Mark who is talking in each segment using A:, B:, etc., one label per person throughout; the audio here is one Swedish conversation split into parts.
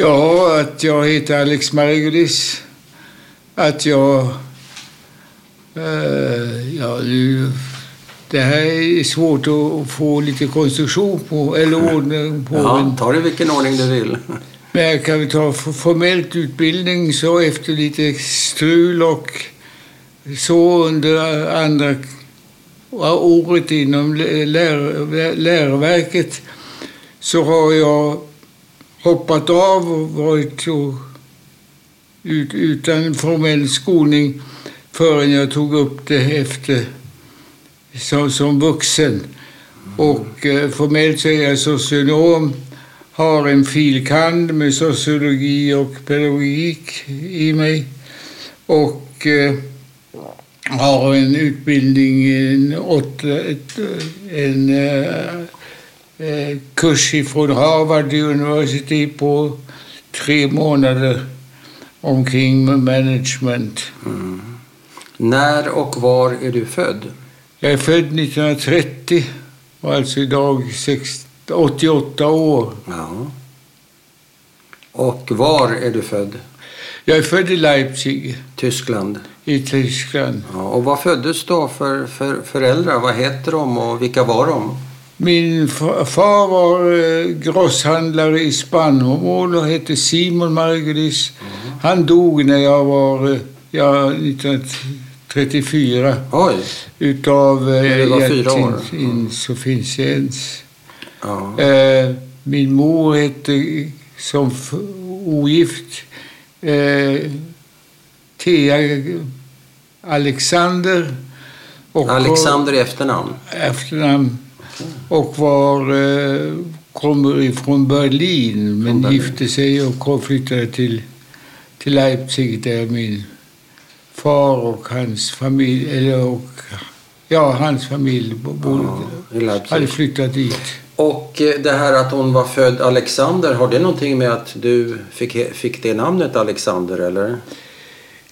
A: Ja, att jag heter Alex Margulis. Att jag... Eh, ja, nu, det här är svårt att få lite konstruktion på, eller ordning på.
B: Ja,
A: Men,
B: ta det i vilken ordning du vill.
A: men jag kan väl ta f- formellt utbildning så efter lite strul och så under andra ja, året inom lä- lär, läroverket så har jag hoppat av och varit så ut, utan formell skolning förrän jag tog upp det efter som, som vuxen. Och eh, formellt så är jag socionom, har en filkand med sociologi och pedagogik i mig och eh, har en utbildning, en, åtta, ett, en eh, eh, kurs ifrån Harvard University på tre månader omkring management.
B: När och var är du född?
A: Jag är född 1930 och alltså idag 60, 88 år.
B: Ja. Och var är du född?
A: Jag är född i Leipzig
B: Tyskland.
A: i Tyskland.
B: Ja, och vad föddes då för, för föräldrar? Vad heter de och vilka var de?
A: Min fa- far var eh, grosshandlare i spannmål och hette Simon Margulis.
B: Mm.
A: Han dog när jag var eh, ja, 1934
B: Oj!
A: utav eh,
B: När du var fyra år. Mm.
A: hjärtinsufficiens.
B: Ja.
A: Eh, min mor hette som f- ogift eh, Thea Alexander. Och
B: Alexander i efternamn.
A: efternamn och var, eh, kommer ifrån Berlin men
B: Berlin.
A: gifte sig och kom- flyttade till, till Leipzig där min far och hans familj, eller och, ja, hans familj bo- bodde,
B: I
A: hade
B: Leipzig.
A: flyttat dit.
B: Och eh, det här att hon var född Alexander, har det någonting med att du fick, he- fick det namnet Alexander eller?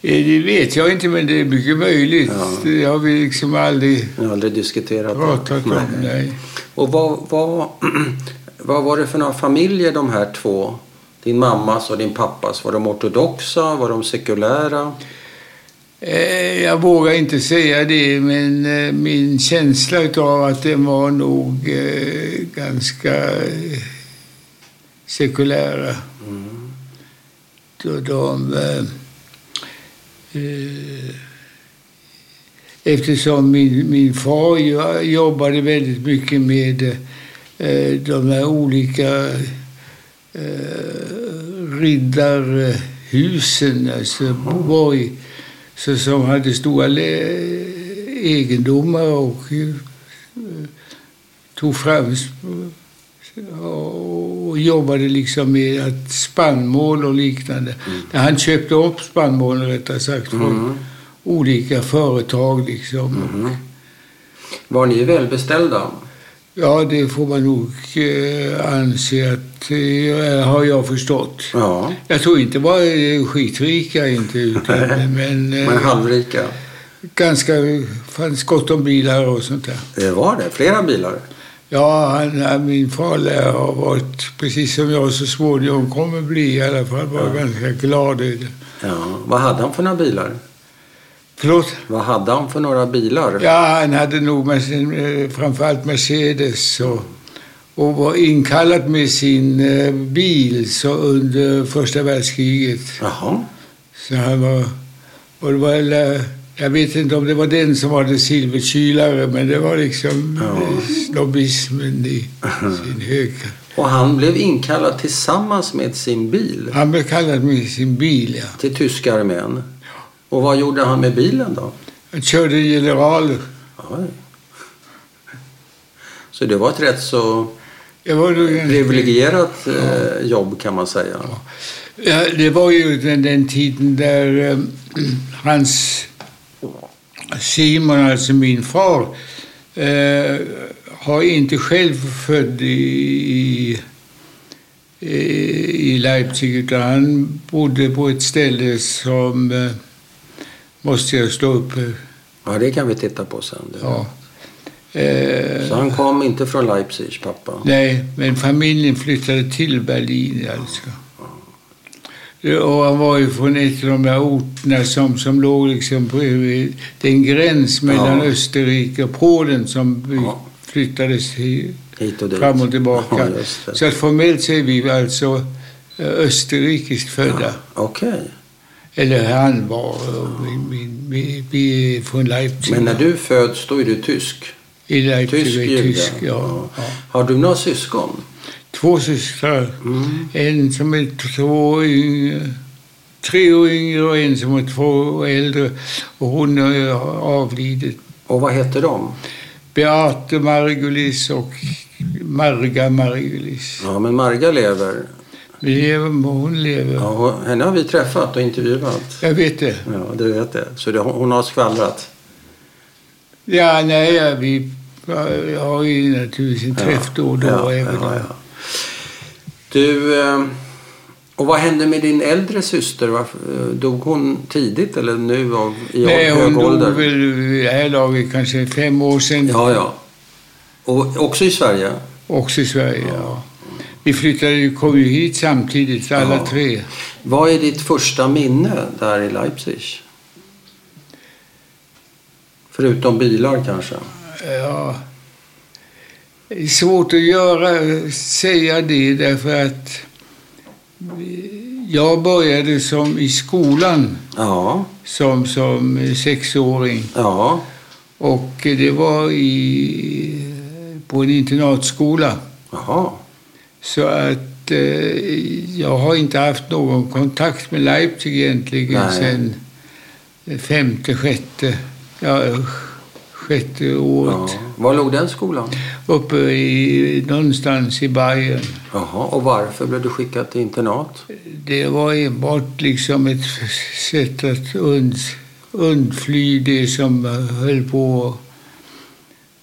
A: Eh, Det vet jag inte men det är mycket möjligt.
B: Ja.
A: Det har vi liksom aldrig
B: Jag har aldrig diskuterat
A: pratat om.
B: Nej.
A: Nej.
B: Och vad, vad, vad var det för några familjer de här två? Din mammas och din pappas. Var de ortodoxa? Var de sekulära?
A: Eh, Jag vågar inte säga det, men eh, min känsla utav att den var nog eh, ganska eh, sekulära. Då de, eh, eh, eftersom min, min far ju jobbade väldigt mycket med eh, de här olika eh, riddarhusen, alltså borg, så, som hade stora le- egendomar och eh, tog fram och och jobbade liksom med att spannmål och liknande. Han köpte upp spannmålen rättare sagt från olika företag. Liksom.
B: Mm. Var ni välbeställda?
A: Ja, det får man nog eh, anse att, eh, har jag förstått.
B: Ja.
A: Jag tror inte bara eh, skitrika inte, utan, men, eh,
B: Men halvrika?
A: ganska, fanns gott om bilar och sånt där.
B: Det var det. Flera bilar?
A: Ja, han, han, min far lär ha varit, precis som jag så småningom kommer bli i alla fall, var ganska glad över det.
B: Ja. Vad hade han för några bilar?
A: Förlåt?
B: Vad hade han för några bilar?
A: Ja, han hade nog med sin, eh, framförallt Mercedes och, och var inkallad med sin eh, bil så under första världskriget.
B: Jaha.
A: Så han var, och det var, väl, eh, jag vet inte om det var den som hade silverkylare, men det var liksom
B: Ja.
A: ja. snobbismen i sin hög.
B: Och han blev inkallad tillsammans med sin bil
A: Han blev kallad med sin bil, ja.
B: till tyska armén. Och vad gjorde han med bilen då?
A: Han körde generaler.
B: Oj. Så det var ett rätt så
A: Det var, nog en-
B: privilegierat eh, jobb kan man säga.
A: Ja, det var ju den, den tiden där eh, hans Simon, alltså min far, eh, har inte själv född i, i, i Leipzig utan han bodde på ett ställe som eh, måste jag slå upp. eh,
B: Ja, det kan vi titta på sen. du.
A: Ja. Eh,
B: Så han kom inte från Leipzig, pappa?
A: nej, men familjen flyttade till Berlin alltså. Och han var ju från ett av de där orterna som, som låg liksom bredvid den gräns mellan
B: Ja.
A: Österrike och Polen som vi
B: Ja.
A: flyttades i,
B: Hit och dit.
A: fram och tillbaka.
B: Ja, just det.
A: så att formellt så är vi alltså eh, österrikiskt födda.
B: Ja, Okej.
A: Eller han var. och Vi, vi, vi, vi är från Leipzig.
B: Men när du föds, då är du tysk?
A: I Leipzig,
B: Tysk
A: är
B: jude?
A: tysk ja. ja.
B: Har du några syskon?
A: Två systrar.
B: Mm.
A: En som är två år yngre, tre år yngre och en som är två år äldre. Och hon har avlidit.
B: Och vad heter de?
A: Beate Margulis och Marga Margulis.
B: Ja, men Marga lever.
A: Lever, hon lever.
B: Ja, hon- henne har vi träffat och intervjuat.
A: Jag vet det.
B: Ja, du vet det. Så det, hon har skvallrat.
A: Ja, nej, ja, vi ja, har ju naturligtvis en träff då och då.
B: Ja,
A: även
B: ja,
A: om-
B: ja. Du, eh, och vad hände med din äldre syster? Varför, eh, Dog hon tidigt eller nu av, i
A: Nej,
B: hög
A: hon
B: ålder?
A: dog väl vid det här laget kanske fem år sedan.
B: Ja, ja. Och också i Sverige?
A: Också i Sverige, ja. Vi flyttade, ju- kom ju hit samtidigt, alla
B: Ja.
A: tre.
B: Vad är ditt första minne där i Leipzig? Förutom bilar kanske?
A: Ja. Det är svårt att göra, säga det därför att jag började som i skolan
B: Ja,
A: som, som sexåring.
B: ja,
A: Och det var i, på en internatskola.
B: jaha.
A: Så att eh, jag har inte haft någon kontakt med Leipzig egentligen
B: Nej.
A: sen femte, sjätte, ja, sjätte året.
B: Ja. Var låg den skolan?
A: Uppe i, någonstans i Bayern.
B: Jaha, och varför blev du skickad till internat?
A: Det var enbart liksom ett sätt att und, undfly det som höll på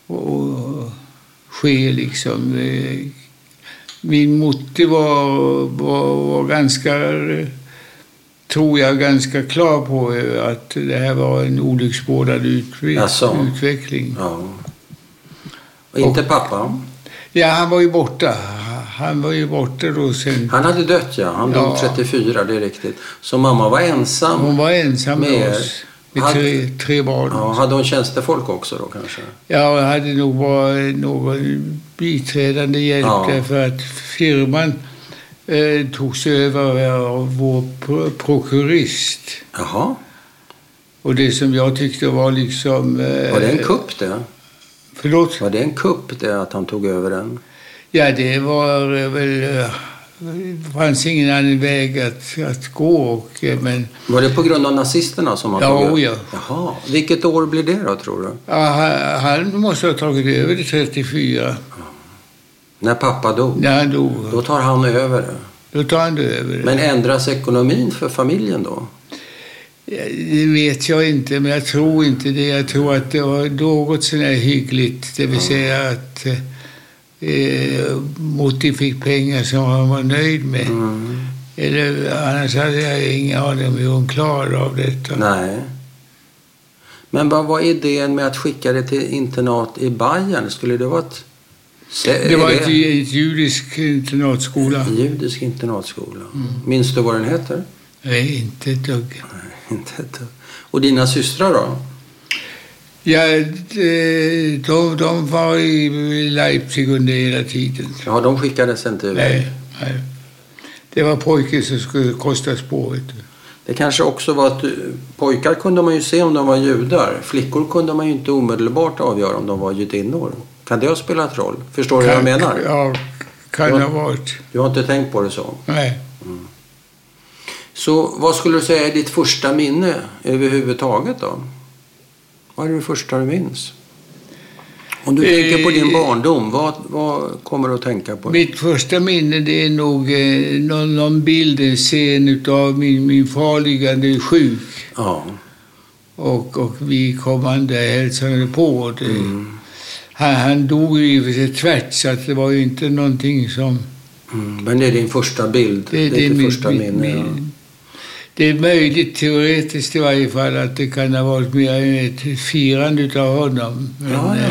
A: att ske liksom. Eh, Min motter var, var, var ganska, tror jag, ganska klar på eh, att det här var en olycksbådad utve-
B: Jaså?
A: utveckling.
B: Ja. Och inte pappa?
A: Ja, han var ju borta. Han var ju borta då sen.
B: Han hade dött ja, han dog
A: Ja.
B: 34, det är riktigt. Så mamma var ensam.
A: Hon var ensam
B: Med
A: med
B: er.
A: oss. Med
B: Hade-
A: tre, tre barn.
B: Ja, hade hon tjänstefolk också då kanske?
A: Ja, jag hade nog bara någon biträdande hjälp
B: Ja.
A: därför att firman eh, togs över av vår pro- prokurist.
B: Jaha,
A: Och det som jag tyckte var liksom... Eh,
B: var det en kupp det?
A: Förlåt?
B: Var det en kupp det att han tog över den?
A: Ja, det var eh, väl... eh, Det fanns ingen annan väg att, att gå. Och, eh, men
B: Var det på grund av nazisterna som han
A: Ja,
B: tog över?
A: ja.
B: Jaha, vilket år blir det då tror du?
A: ja, han- han måste ha tagit över det 34
B: Oh. När pappa dog?
A: när han dog.
B: Då tar han över det.
A: Då tar han det över. det.
B: Men ändras ekonomin för familjen då?
A: Ja, Det vet jag inte, men jag tror inte det. Jag tror att det var något sånär hyggligt. Det vill säga att eh, Motti fick pengar som han var nöjd med.
B: Mm.
A: Eller, annars hade jag ingen aning om hur hon klarade av detta.
B: Nej. Men vad var idén med att skicka det till internat i Bayern? Skulle det vara ett... Se-
A: Det
B: är
A: var ett, ett judisk internatskola.
B: en judisk internatskola. Minns du vad den heter?
A: Nej, inte ett dugg.
B: Nej, inte ett dugg. Och dina systrar då?
A: Ja, de, de, de var i Leipzig under hela tiden.
B: Ja, de skickades inte iväg.
A: Nej, nej. Det var pojken som skulle kostas på, vet du.
B: Det kanske också var att du- pojkar kunde man ju se om de var judar. Flickor kunde man ju inte omedelbart avgöra om de var judinnor. Kan det ha spelat roll? Förstår du vad jag menar?
A: Ja, kan ha varit.
B: Du har inte tänkt på det så?
A: Nej.
B: Så vad skulle du säga är ditt första minne överhuvudtaget då? Vad är det första du minns? Om du
A: Eh,
B: tänker på din barndom, vad, vad kommer du att tänka på?
A: Mitt första minne det är nog eh, någon, någon bild, en scen utav min, min far liggande sjuk.
B: Ja,
A: Och, och vi kom han där och hälsade på. Och Det,
B: Mm.
A: han, han dog ju i och för sig tvärt så att det var ju inte någonting som...
B: mm. men det är din första bild. Det, är ditt
A: mitt-
B: första
A: mitt-
B: minne. ja.
A: mitt- Det är möjligt, teoretiskt i varje fall, att det kan ha varit mer ett firande utav honom. Men,
B: Ja, ja.
A: eh,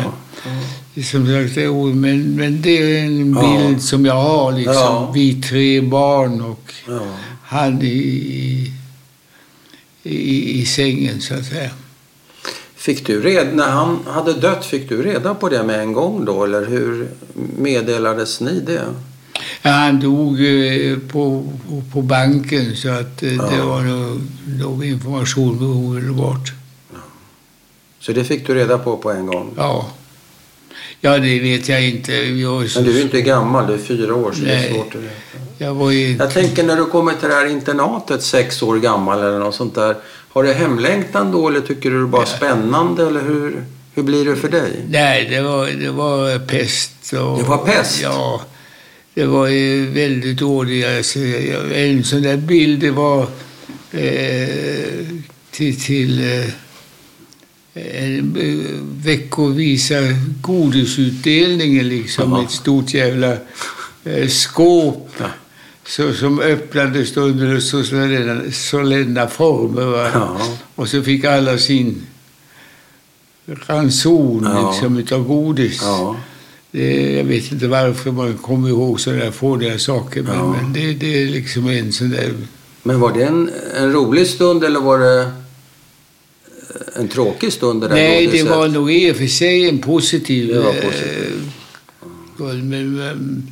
B: ja.
A: Som sagt, det är ord, oh, men, men det är en
B: Ja.
A: bild som jag har. Liksom.
B: Ja.
A: Vi tre barn och
B: Ja.
A: han i, i, i, i sängen, så att säga.
B: Fick du red, när han hade dött, fick du reda på det med en gång då? Eller hur meddelades ni det?
A: Ja, han dog eh, på, på, på banken, så att eh, det
B: Ja.
A: var nog, nog information omedelbart.
B: Så det fick du reda på på en gång?
A: Ja. ja, det vet jag inte. Jag, var
B: Men du är
A: så,
B: inte gammal, du är fyra år så det är
A: Nej.
B: svårt att veta.
A: jag var ju...
B: Jag tänker när du kommer till det här internatet sex år gammal eller något sånt där. Har du hemlängtan då eller tycker du det bara är spännande eller hur, hur blir det för dig?
A: Nej, det var, det var pest. Och,
B: Det var pest?
A: Ja. Det var ju väldigt dåliga... alltså, jag- En sån där bild, det var eh, till, till eh, en eh, veckovisa godisutdelningen liksom.
B: Jaha.
A: Ett stort jävla eh, skåp.
B: Ja.
A: Så, som öppnades då under så solenna, solenna former. Va?
B: Ja.
A: Och så fick alla sin ranson
B: Ja.
A: liksom, utav godis.
B: Ja.
A: Det, jag vet inte varför man kommer ihåg sådana där fåniga saker, men,
B: Ja.
A: men det, det är liksom en sån där...
B: Men var det en, en rolig stund eller var det eh, en tråkig stund? Det där
A: Nej, det
B: godiset?
A: var nog i och för sig en positiv...
B: Det var
A: eh,
B: positivt.
A: guld, men, men,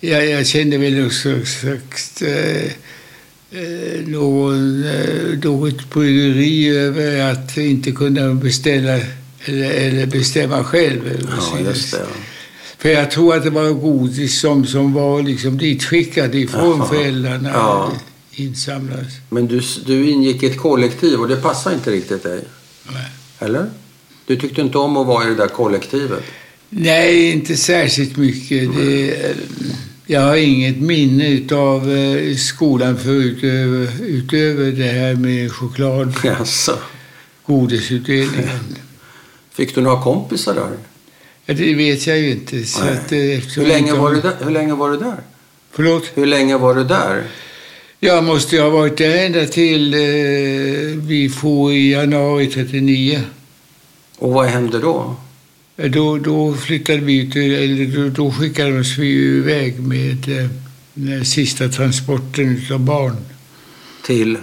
A: jag, jag kände väl också exakt eh, eh, någon, eh, något bryggeri över att inte kunna beställa eller, eller bestämma själv. eller vad
B: Ja,
A: säger
B: just det.
A: jag?
B: ja.
A: För jag tror att det var godis som, som var liksom ditskickad ifrån
B: Jaha.
A: föräldrarna.
B: Ja.
A: Insamlades.
B: Men du, du ingick i ett kollektiv och det passade inte riktigt dig?
A: Nej.
B: Eller? Du tyckte inte om att vara i det där kollektivet?
A: Nej, inte särskilt mycket. Det, jag har inget minne av skolan förut utöver, utöver det här med
B: Jaså?
A: chokladgodisutdelningen.
B: Fick du några kompisar där?
A: Ja, det vet jag ju inte. Så
B: Nej.
A: att, eh, eftersom
B: Hur länge,
A: inte-
B: var du där? Hur länge var du där?
A: Förlåt?
B: Hur länge var du där?
A: Jag måste ju ha varit där ända till eh, vi får i januari 39.
B: Och vad hände då?
A: Eh, Då, då flyttade vi ut, eller då, då skickades vi ju iväg med eh, den sista transporten av barn.
B: Till?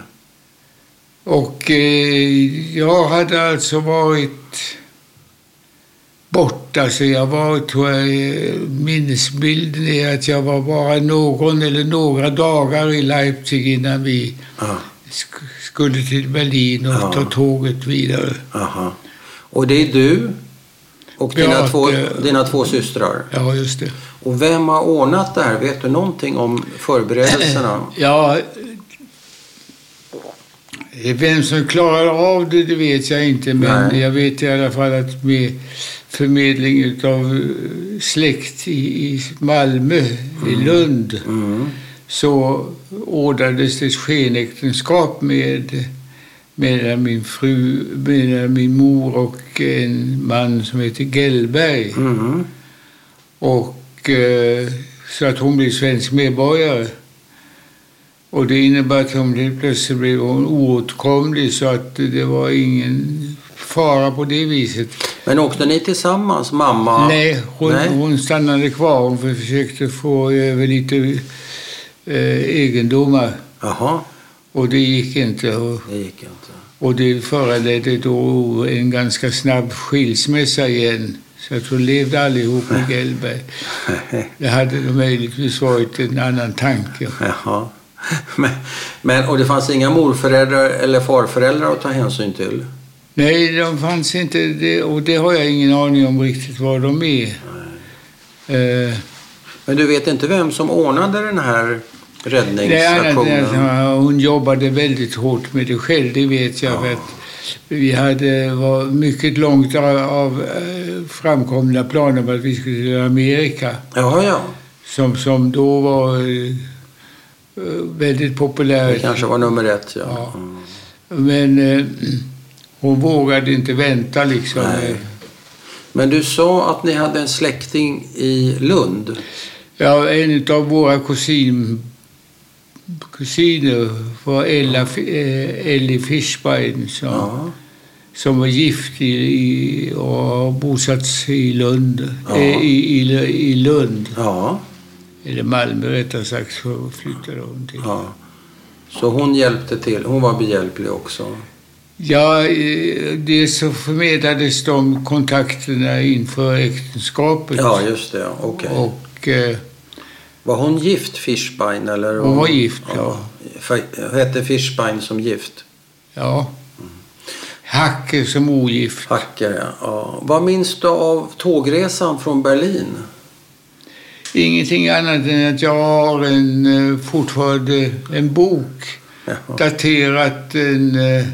A: Och eh, jag hade alltså varit borta, så jag var, tror jag, eh, minnesbilden är att jag var bara någon eller några dagar i Leipzig innan vi
B: Ja,
A: sk- skulle till Berlin och
B: Ja.
A: ta tåget vidare.
B: aha. Och det är du och dina,
A: Ja,
B: två,
A: det-
B: dina två systrar.
A: Ja, just det.
B: Och vem har ordnat det här? Vet du någonting om förberedelserna?
A: Ja, eh, vem som klarar av det, det vet jag inte. Men
B: Nej.
A: jag vet i alla fall att med förmedling av släkt i i Malmö, i Lund,
B: Mm.
A: så ordnades det skenäktenskap med med min fru, med min mor och en man som heter Gellberg.
B: Mm.
A: Och, eh, så att hon blev svensk medborgare. Och det innebar att hon helt plötsligt blev hon oåtkomlig så att det var ingen fara på det viset.
B: Men åkte ni tillsammans, mamma?
A: Nej, hon,
B: Nej.
A: hon stannade kvar. Hon försökte få över lite eh, egendomar
B: Jaha,
A: och det gick inte. Och,
B: det gick inte.
A: och det föranledde då en ganska snabb skilsmässa igen. Så att hon levde allihop med Gellberg. Det hade möjligtvis varit en annan tanke.
B: Jaha. Men, men, och det fanns inga morföräldrar eller farföräldrar att ta hänsyn till?
A: Nej, de fanns inte det, och det har jag ingen aning om riktigt var de är. Eh,
B: Men du vet inte vem som ordnade den här
A: Det är annat än
B: räddningsaktionen?
A: att hon jobbade väldigt hårt med det själv, det vet jag. För att vi hade var mycket långt av, av eh, framkomna planer på att vi skulle till Amerika.
B: Jaha, ja.
A: Som, som då var eh, eh, väldigt
B: Det
A: populärt.
B: kanske var nummer ett, ja.
A: Ja.
B: Mm.
A: Men eh, hon vågade inte vänta liksom.
B: Nej. Men du sa att ni hade en släkting i Lund.
A: Ja, en av våra kusin, kusiner var Ella, Fi- eh, Ellie Fischbein som
B: Ja.
A: som var gift i, i, och har bosatt sig i Lund.
B: Ja.
A: eh, I, i, I Lund,
B: Ja,
A: eller Malmö rättare sagt, så flyttade hon till.
B: ja. Så hon hjälpte till. Hon var behjälplig också.
A: Ja, eh, dels så förmedlades de kontakterna inför äktenskapet.
B: Ja, just det. ja. Okej.
A: Och eh,
B: Var hon gift, Fishbein? Eller
A: Hon var gift, ja.
B: Fe- Hette Fishbein som gift?
A: ja, Hacke som ogift.
B: Hackare, ja. Vad minns du av tågresan från Berlin?
A: Ingenting annat än att jag har en, eh, fortfarande en bok
B: Jaha.
A: daterat den, eh,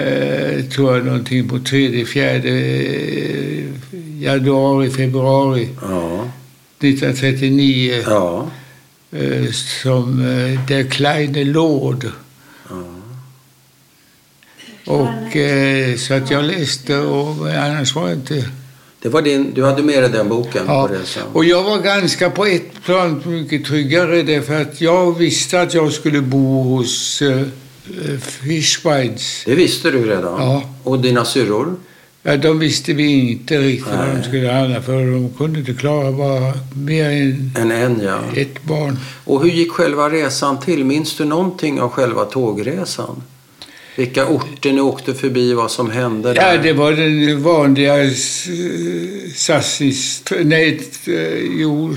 A: eh, tror jag, någonting på tredje, fjärde eh, januari, februari
B: Ja,
A: 1939
B: ja,
A: eh, som eh, Der kleine Lord. Och eh, så att jag läste och annars var jag inte...
B: det var din, du hade med dig den boken
A: Ja.
B: på resan?
A: Och jag var ganska på ett plan mycket tryggare därför att jag visste att jag skulle bo hos eh, eh, Fishbinds.
B: Det visste du redan?
A: Ja.
B: Och dina syrror?
A: Ja, de visste vi inte riktigt vad
B: Nej.
A: de skulle handla för. De kunde inte klara bara mer än
B: En en, ja.
A: ett barn.
B: Och hur gick själva resan till? Minns du någonting av själva tågresan? Vilka orter ni åkte förbi, vad som hände där?
A: Ja, det var den vanliga s- Sassnis... Nej, t- jo,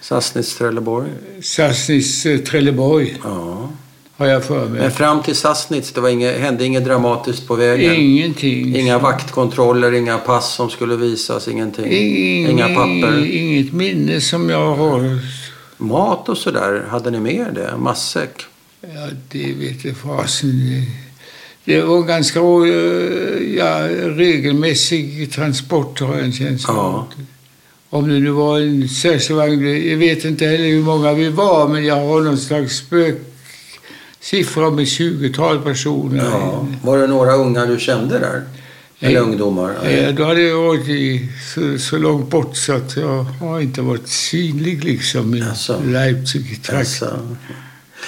B: Sassnitz, Trelleborg?
A: Sassnis eh, Trelleborg
B: Ja.
A: har jag för mig.
B: Men fram till Sassnitz, det var inget, hände inget dramatiskt på vägen?
A: Ingenting.
B: Inga vaktkontroller, inga pass som skulle visas, ingenting?
A: Ing-
B: inga papper?
A: Inget minne som jag har.
B: Mat och sådär, hade ni med er det? Matsäck?
A: Ja, det vet jag fasen. Det var ganska eh, ja, regelmässig transport har jag en känsla
B: Ja.
A: av. Om det nu var en särskild vagn. Jag vet inte heller hur många vi var, men jag har någon slags spöksiffra om ett 20-tal personer.
B: Ja. Var det några unga du kände där? Eller
A: Nej.
B: ungdomar?
A: Eh, Då hade jag varit i, så, så långt bort så att jag har inte varit synlig liksom i
B: Alltså.
A: Leipzig-trakten.
B: Alltså.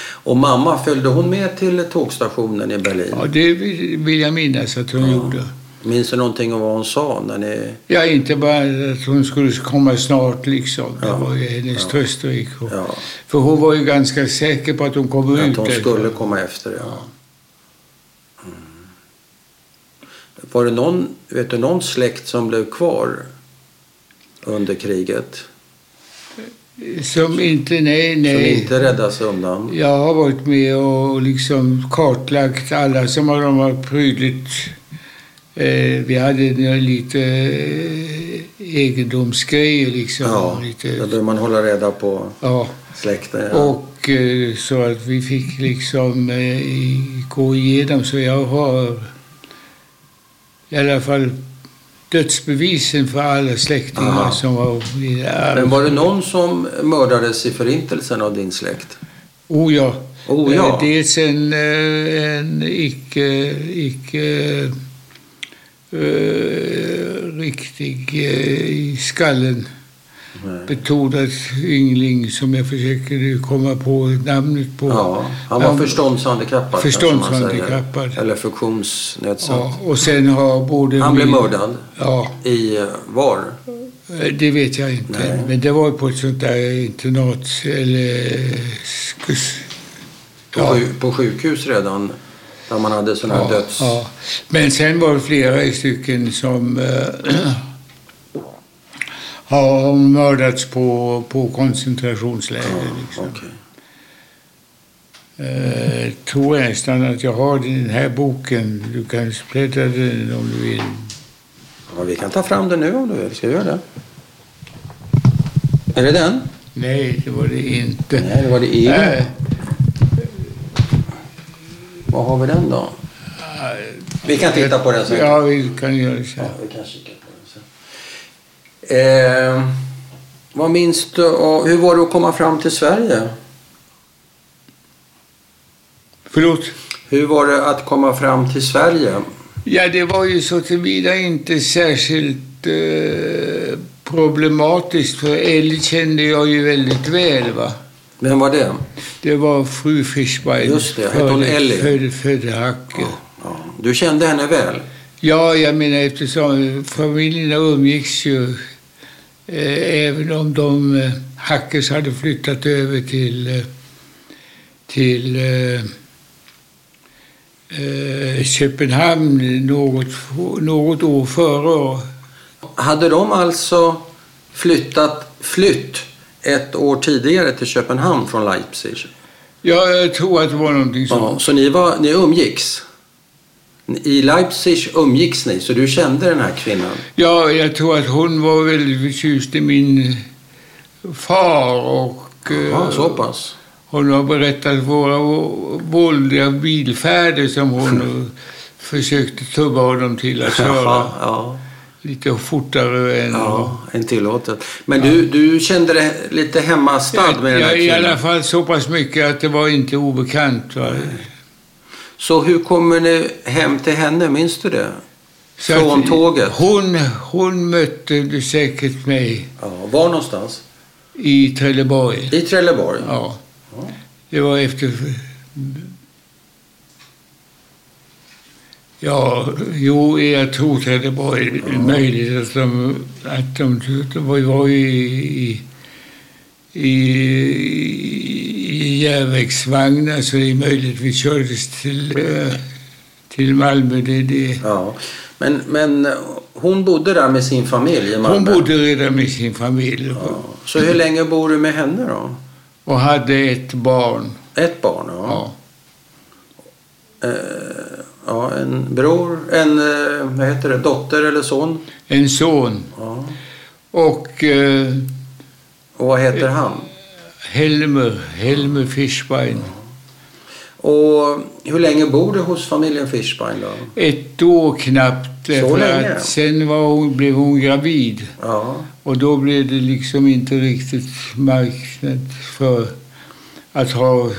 B: Och mamma, följde hon med till tågstationen i Berlin?
A: Ja, det vill vill jag minnas att hon gjorde.
B: Minns du någonting om vad hon sa? När ni...
A: Ja, inte bara att hon skulle komma snart liksom. Det var ju hennes trösterik.
B: ja,
A: För hon var ju ganska säker på att hon kom ut.
B: att hon
A: därifrån.
B: skulle komma efter det. Ja. Mm. Var det någon, vet du, någon släkt som blev kvar under kriget?
A: Som inte, nej,
B: Som
A: nej.
B: inte räddas undan?
A: Jag har varit med och liksom kartlagt alla som har de har prydligt. Eh, vi hade nu lite eh, egendomsgrejer liksom.
B: Ja, då
A: lite,
B: behöver man hålla reda på
A: ja.
B: släkten. Ja.
A: Och eh, så att vi fick liksom eh, i- gå igenom så jag har i alla fall dödsbevisen för alla släktingar
B: Aha.
A: som var i
B: Men
A: arv.
B: var det någon som mördades i förintelsen av din släkt?
A: Oh ja.
B: Oh, ja.
A: Eh, Dels en, eh, en icke, icke eh, riktig eh, i skallen
B: Nej.
A: betonad yngling som jag försöker nu komma på namnet på.
B: Ja, han var
A: Han-
B: förståndshandikappad.
A: Förståndshandikappad.
B: kanske man säger. Eller funktionsnedsatt.
A: Ja, och sen har både...
B: Han blev
A: min-
B: mördad
A: Ja,
B: i eh, var?
A: det vet jag inte.
B: Nej.
A: Men det var ju på ett sånt där internat eller... skus-
B: På, sju, på sjukhus redan. Där man hade sådana här
A: ja,
B: döds...
A: ja. Men sen var det flera stycken som eh, har mördats på, på koncentrationsläger. liksom.
B: okej.
A: Eh, tror jag nästan att jag har den här boken. Du kan bläddra den om du vill.
B: ja, vi kan ta fram den nu om du vill. Ska vi göra det? Är det den?
A: Nej, det var det inte.
B: Nej, det var det EU.
A: Nej.
B: Var har vi den då? Vi kan titta på den sen.
A: Ja, vi kan göra så.
B: Ja, vi kan kika på den sen. Eh, vad minns du av, Hur var det att komma fram till Sverige?
A: Förlåt?
B: Hur var det att komma fram till Sverige?
A: Ja, det var ju så tillvida inte särskilt eh, problematiskt, för Ellie kände jag ju väldigt väl. va.
B: Vem var det?
A: Det var fru Fischbein.
B: Just det, hette hon
A: före-
B: Ellie?
A: Född, född Hacke.
B: Ja, Du kände henne väl?
A: Ja, jag menar eftersom familjerna umgicks ju eh, även om de eh, Hackers hade flyttat över till, eh, till eh, eh, Köpenhamn något, något år före.
B: Hade de alltså flyttat flytt ett år tidigare till Köpenhamn från Leipzig?
A: Ja, jag tror att det var någonting sånt.
B: Ja, så ni, var, ni umgicks? I Leipzig umgicks ni, så du kände den här kvinnan?
A: Ja, jag tror att hon var väldigt förtjust i min far och eh,
B: Ja, så pass.
A: hon har berättat våra vå- våldliga bilfärder som hon eh, försökte tubba honom till att köra
B: Jaha, ja.
A: lite fortare än
B: Ja, en tillåtet. Men du, du kände dig lite hemmastad med den här
A: Ja, I alla
B: kvinnan.
A: fall så pass mycket att det var inte obekant. Va?
B: Så hur kommer ni hem till henne, minns du det?
A: Så att
B: Från tåget?
A: Hon, hon mötte du säkert mig
B: Ja, var någonstans?
A: i Trelleborg.
B: I Trelleborg?
A: Ja.
B: Ja.
A: Det var efter... Ja, jo, jag tror Trelleborg. Ja. Möjligt att de... Att de, de var, var ju i, i, i järnvägsvagnar så det är möjligt vi kördes till, eh, till Malmö. Det, det.
B: Ja. Men, men hon bodde där med sin familj i Malmö?
A: Hon bodde redan med sin familj
B: Ja. Så hur länge bor du med henne då?
A: och hade ett barn.
B: Ett barn? Ja.
A: Ja.
B: Ja, ja en bror, en eh, vad heter det, dotter eller son?
A: En son.
B: Ja.
A: Och... Eh,
B: Och vad heter han?
A: Helmer, Helmer Fischbein.
B: Och hur länge bor du hos familjen Fischbein då?
A: Ett år knappt. därför
B: länge?
A: Att sen var hon, blev hon gravid
B: Ja.
A: och då blev det liksom inte riktigt marknad för att ha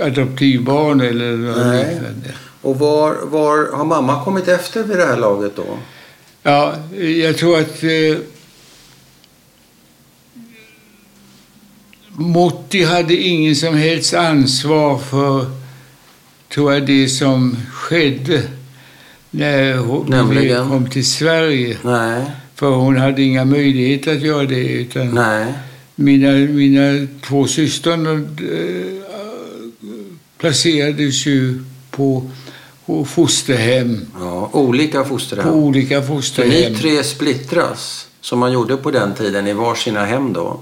A: adoptivbarn eller något
B: Nej.
A: liknande.
B: Och var, var har mamma kommit efter vid det här laget då?
A: Ja, jag tror att eh, Motti hade ingen som helst ansvar för, tror jag, det som skedde när hon
B: Nämligen?
A: kom till Sverige.
B: Nej.
A: För hon hade inga möjligheter att göra det. Utan
B: Nej.
A: Mina, mina två systrar eh, placerades ju på på fosterhem,
B: Ja, olika
A: på
B: fosterhem.
A: olika
B: Så
A: fosterhem.
B: ni tre splittras, som man gjorde på den tiden i varsina hem då.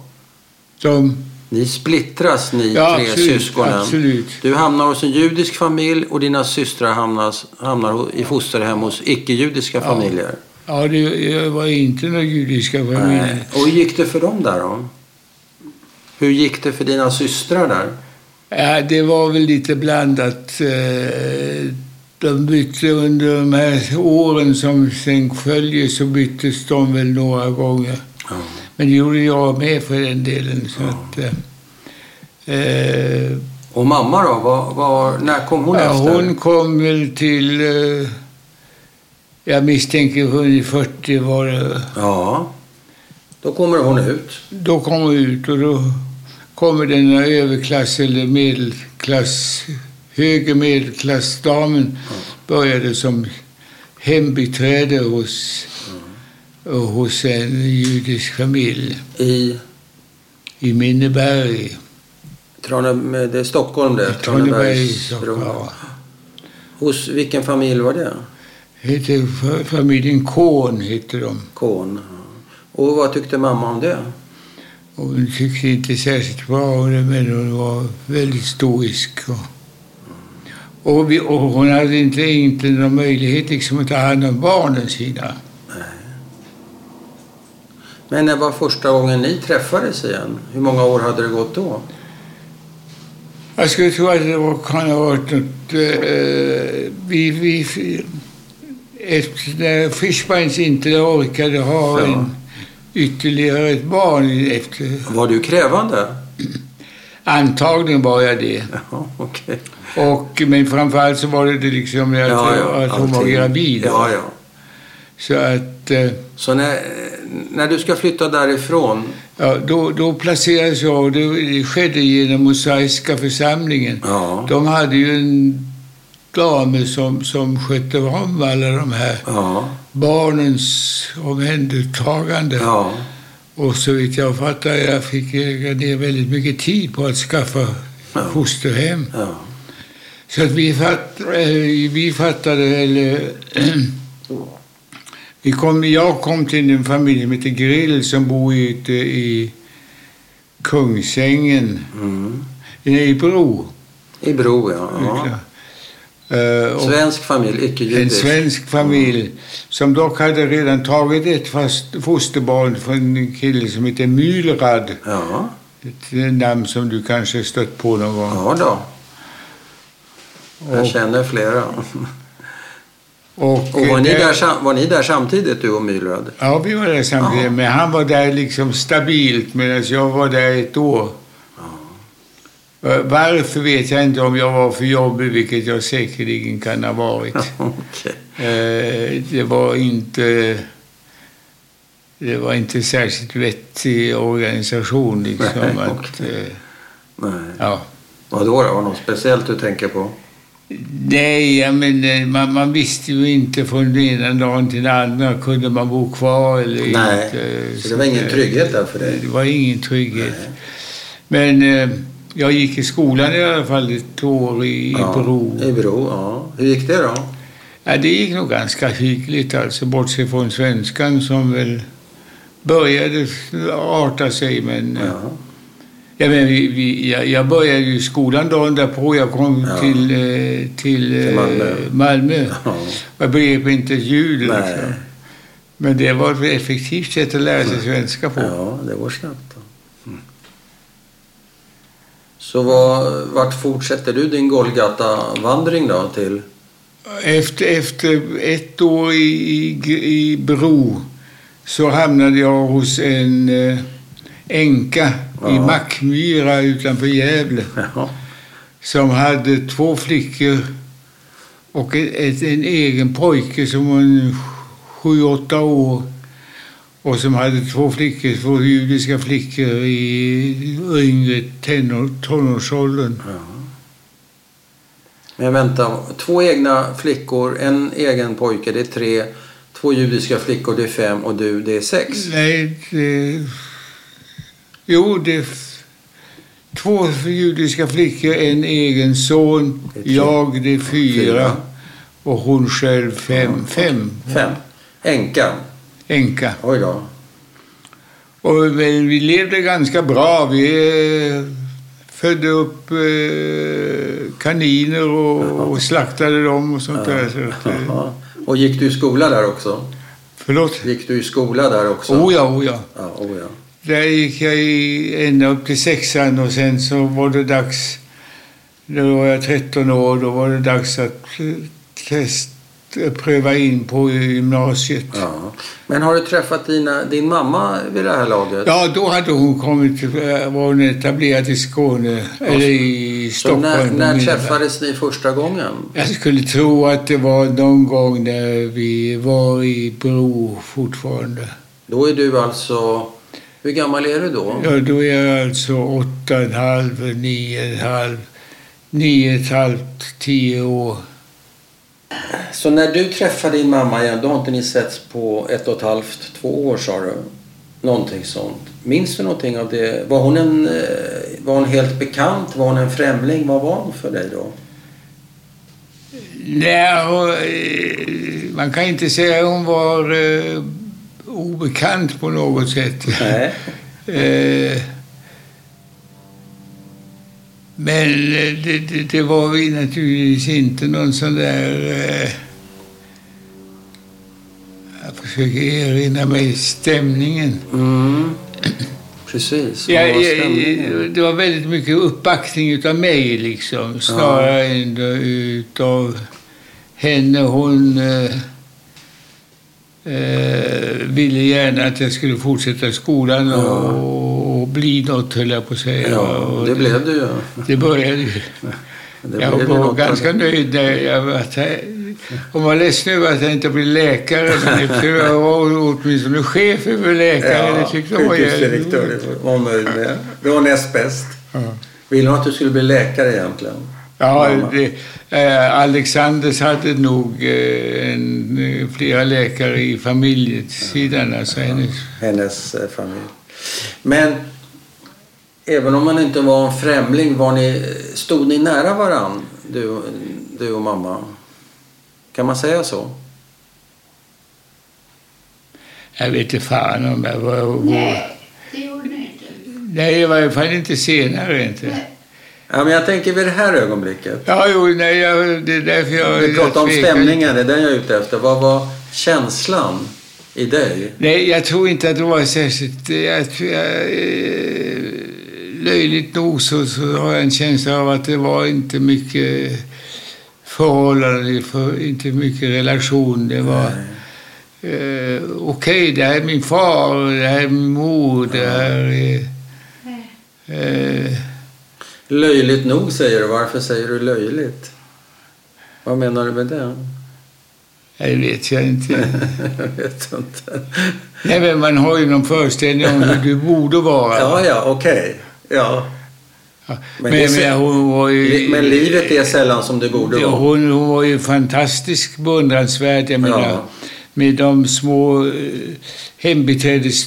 A: De,
B: Ni splittras ni
A: Ja,
B: tre
A: absolut,
B: syskonen.
A: absolut.
B: Du hamnar hos en judisk familj och dina systrar hamnas, hamnar ho- i fosterhem hos icke-judiska familjer.
A: Ja, det var inte några judiska familjer.
B: Nej. Och hur gick det för dem där då? Hur gick det för dina systrar där?
A: Ja, det var väl lite blandat. eh, De bytte under de här åren som sen följer så byttes de väl några gånger.
B: Ja.
A: Men det gjorde jag med för den delen. Så att, eh, eh,
B: Och mamma då? Var, var, när kom hon
A: ja,
B: efter?
A: hon kom väl till... eh, Jag misstänker hon 40 var det.
B: Ja. Då kommer hon ut.
A: Då kom hon ut och då kommer den här överklass eller medelklass, högre medelklassdamen började som hembiträde hos, hos en judisk familj
B: I
A: i Minneberg.
B: Trane, det är Stockholm det.
A: Traneberg,
B: Tranebergsbron.
A: ja.
B: Hos vilken familj var det?
A: Hette fa- familjen Korn hette de.
B: Korn. Och vad tyckte mamma om det?
A: Och hon tyckte inte särskilt bra om det, men hon var väldigt stoisk. Och, och, vi, och hon hade inte, inte någon möjlighet liksom, att ta hand om barnen sina.
B: Men när var första gången ni träffades igen? Hur många år hade det gått då?
A: Jag skulle tro att det var, kan ha varit något... Eh, vi, vi, efter när Fischbeins inte orkade ha
B: Ja.
A: en, ytterligare ett barn efter...
B: Var du krävande?
A: Antagligen var jag det.
B: Ja, okej.
A: Och, men framförallt så var det det liksom att, att hon var
B: allting.
A: gravid.
B: Ja, ja.
A: Så att... Eh,
B: Så när, när du ska flytta därifrån?
A: Ja, då, då placerades jag och det skedde genom Mosaiska församlingen.
B: Ja.
A: De hade ju en damer som, som skötte om alla de här
B: Ja.
A: barnens omhändertagande.
B: Ja.
A: Och så vitt jag fattar, jag fick lägga ner väldigt mycket tid på att skaffa
B: Ja.
A: fosterhem.
B: Ja.
A: Så att vi, fatt, eh, vi fattade, eller vi kom, jag kom till en familj som heter Grill som bor ute i Kungsängen,
B: Mm.
A: nej, i Bro.
B: I Bro, ja. ja.
A: Eh, och
B: Svensk familj,
A: en
B: icke-judisk.
A: svensk familj som dock hade redan tagit ett fast fosterbarn från en kille som heter Mylrad.
B: Ja.
A: Ett namn som du kanske stött på någon gång.
B: ja, då. Jag känner flera.
A: och,
B: Och var, ni
A: eh,
B: där, sam- var ni där samtidigt, du och Mylrad?
A: Ja, vi var där samtidigt.
B: Ja.
A: Men han var där liksom stabilt medan jag var där ett år. Eh, Varför vet jag inte om jag var för jobbig, vilket jag säkerligen kan ha varit.
B: Okej.
A: Eh, Det var inte... Det var inte särskilt vettig organisation liksom.
B: Nej,
A: att,
B: okej.
A: eh,
B: Nej.
A: ja.
B: Vadå då? Var det något speciellt du tänker på?
A: Nej, jag menar, man, man visste ju inte från den ena dagen till den andra. Kunde man bo kvar eller
B: Nej,
A: inte? Eh,
B: så det var ingen trygghet där för dig?
A: Det var ingen trygghet. Men eh, jag gick i skolan i alla fall ett år i,
B: Ja,
A: i Bro.
B: I Bro, ja. Hur gick det då?
A: Ja, det gick nog ganska hyggligt alltså, bortsett från svenskan som väl började arta sig. Men, eh,
B: Ja.
A: Ja, men vi, vi, jag, jag började ju skolan dagen därpå. Jag kom
B: Ja.
A: till, eh, till, eh,
B: Malmö.
A: Malmö.
B: Ja.
A: Jag begrep inte ett ljud.
B: Nej.
A: Liksom. Men det var ett effektivt sätt att lära sig svenska på.
B: ja, det går snabbt. Då. Mm. Så vad, vart fortsätter du din Golgata-vandring då till?
A: Efter, efter ett år i, i, i Bro så hamnade jag hos en eh, änka i
B: Ja.
A: Mackmyra utanför Gävle.
B: Ja.
A: som hade två flickor och ett, ett, en egen pojke som var en sju, åtta år och som hade två flickor, två judiska flickor i yngre tenor, tonårsåldern.
B: Ja. Men vänta, två egna flickor, en egen pojke, det är tre. Två judiska flickor, det är fem och du, det är sex.
A: Nej, det, jo, det är f- två judiska flickor, en egen son,
B: Det är tre.
A: jag det är fyra
B: Fyra.
A: och hon själv fem, fem,
B: Fem. Änkan.
A: änka.
B: Oj då.
A: Och vi, vi levde ganska bra. Vi eh, födde upp eh, kaniner och, och slaktade dem och sånt där. Så att, eh,
B: Jaha. Och gick du i skola där också?
A: förlåt?
B: Gick du i skola där också?
A: Oh ja, oh ja.
B: Ja, oh ja.
A: Där gick jag i, ända upp till sexan och sen så var det dags. Då var jag 13 år. Då var det dags att eh, test, pröva in på gymnasiet.
B: Ja. Men har du träffat dina, din mamma vid det här laget?
A: Ja, då hade hon kommit, eh, var hon etablerad i Skåne, eller i
B: Så
A: Stockholm.
B: när,
A: om
B: när
A: mina-
B: träffades ni första gången?
A: Jag skulle tro att det var någon gång när vi var i Bro fortfarande.
B: Då är du alltså... Hur gammal är du då?
A: Ja, då är jag alltså åtta och en halv, nio och en halv, nio och ett halvt, tio år.
B: Så när du träffade din mamma igen, då har inte ni setts på ett och ett halvt, två år sa du? Någonting sånt. Minns du någonting av det? Var hon, en, eh, var hon helt bekant? Var hon en främling? Vad var hon för dig då?
A: Nej, och, eh, man kan inte säga att hon var eh, obekant på något sätt.
B: Nej.
A: Eh, Men eh, det, det, det var vi naturligtvis inte någon sån där... eh, Jag försöker erinra mig stämningen.
B: Mm. Precis.
A: Ja,
B: Vad var
A: ja,
B: stämningen?
A: det var väldigt mycket uppbackning utav mig liksom. Snarare än då utav henne. Hon eh, eh, ville gärna att jag skulle fortsätta skolan och,
B: Ja.
A: och bli något höll jag på att säga.
B: Ja,
A: Och
B: det blev du ju.
A: det började ju.
B: Det
A: Jag
B: blev ju något
A: var
B: av
A: ganska nöjd när jag var att jag, Hon var ledsen över att jag inte blev läkare, men efter jag var åtminstone chef över läkare. det tyckte hon var jävligt
B: Sjukhusdirektör var hon nöjd med. Det var näst bäst.
A: Ja.
B: Ville hon att du skulle bli läkare egentligen?
A: Ja,
B: mamma?
A: det, eh, Alexanders hade nog eh, en, eh, flera läkare i familjesidan, alltså hennes
B: Hennes eh, familj. Men även om man inte var en främling, var ni, stod ni nära varann, du, du och mamma? Kan man säga så?
A: Jag vet inte fan om jag var... var-
C: Nej, det gjorde ni inte.
A: Nej, i varje fall inte senare inte.
C: Nej.
B: Ja, men jag tänker vid det här ögonblicket.
A: Ja, jo, nej, jag, det är därför jag...
B: Vi pratar
A: jag
B: om
A: tvekar.
B: stämningen, det är den jag är ute efter. Vad var känslan i dig?
A: Nej, jag tror inte att det var särskilt... eh, Jag, tror jag, eh, löjligt nog så, så har jag en känsla av att det var inte mycket förhållande, för, inte mycket relation. Det var... Eh, Okej, det här är min far, det här är min mor, det här är... Eh,
B: Löjligt nog säger du. Varför säger du löjligt? Vad menar du med det?
A: det vet jag inte.
B: jag vet inte.
A: Nej, men man har ju någon föreställning om hur du borde vara.
B: Ja, ja, okej. Ja.
A: men,
B: men
A: men,
B: det ser-
A: hon var ju...
B: Men livet är sällan som det borde
A: Ja,
B: vara.
A: hon, hon var ju fantastisk beundransvärd. Jag menar,
B: Ja.
A: med de små eh,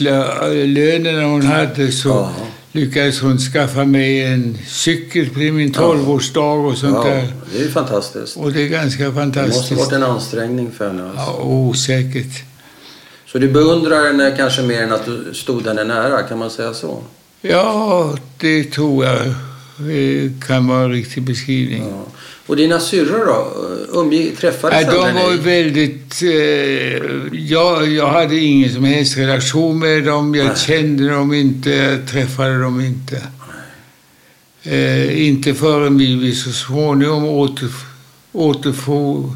A: hembiträdeslönerna hon hade så
B: Ja.
A: lyckades hon skaffa mig en cykel till min
B: Ja.
A: 12-årsdag och sånt
B: Ja,
A: där.
B: det är ju fantastiskt.
A: Och det är ganska
B: Det måste ha
A: fantastiskt.
B: varit en ansträngning för henne. Alltså.
A: Ja, osäkert.
B: Så du beundrar henne kanske mer än att du stod henne nära, kan man säga så?
A: Mm. Ja, det tror jag eh, kan vara en riktig beskrivning.
B: Ja. Och dina syrror då? Umge, träffades
A: Ja, de
B: aldrig
A: var ju
B: ni?
A: väldigt... Eh, jag, jag hade ingen som helst relation med dem. Jag
B: Nej.
A: kände dem inte, jag träffade dem inte. Eh, inte förrän vi, vi så småningom åter, återfå,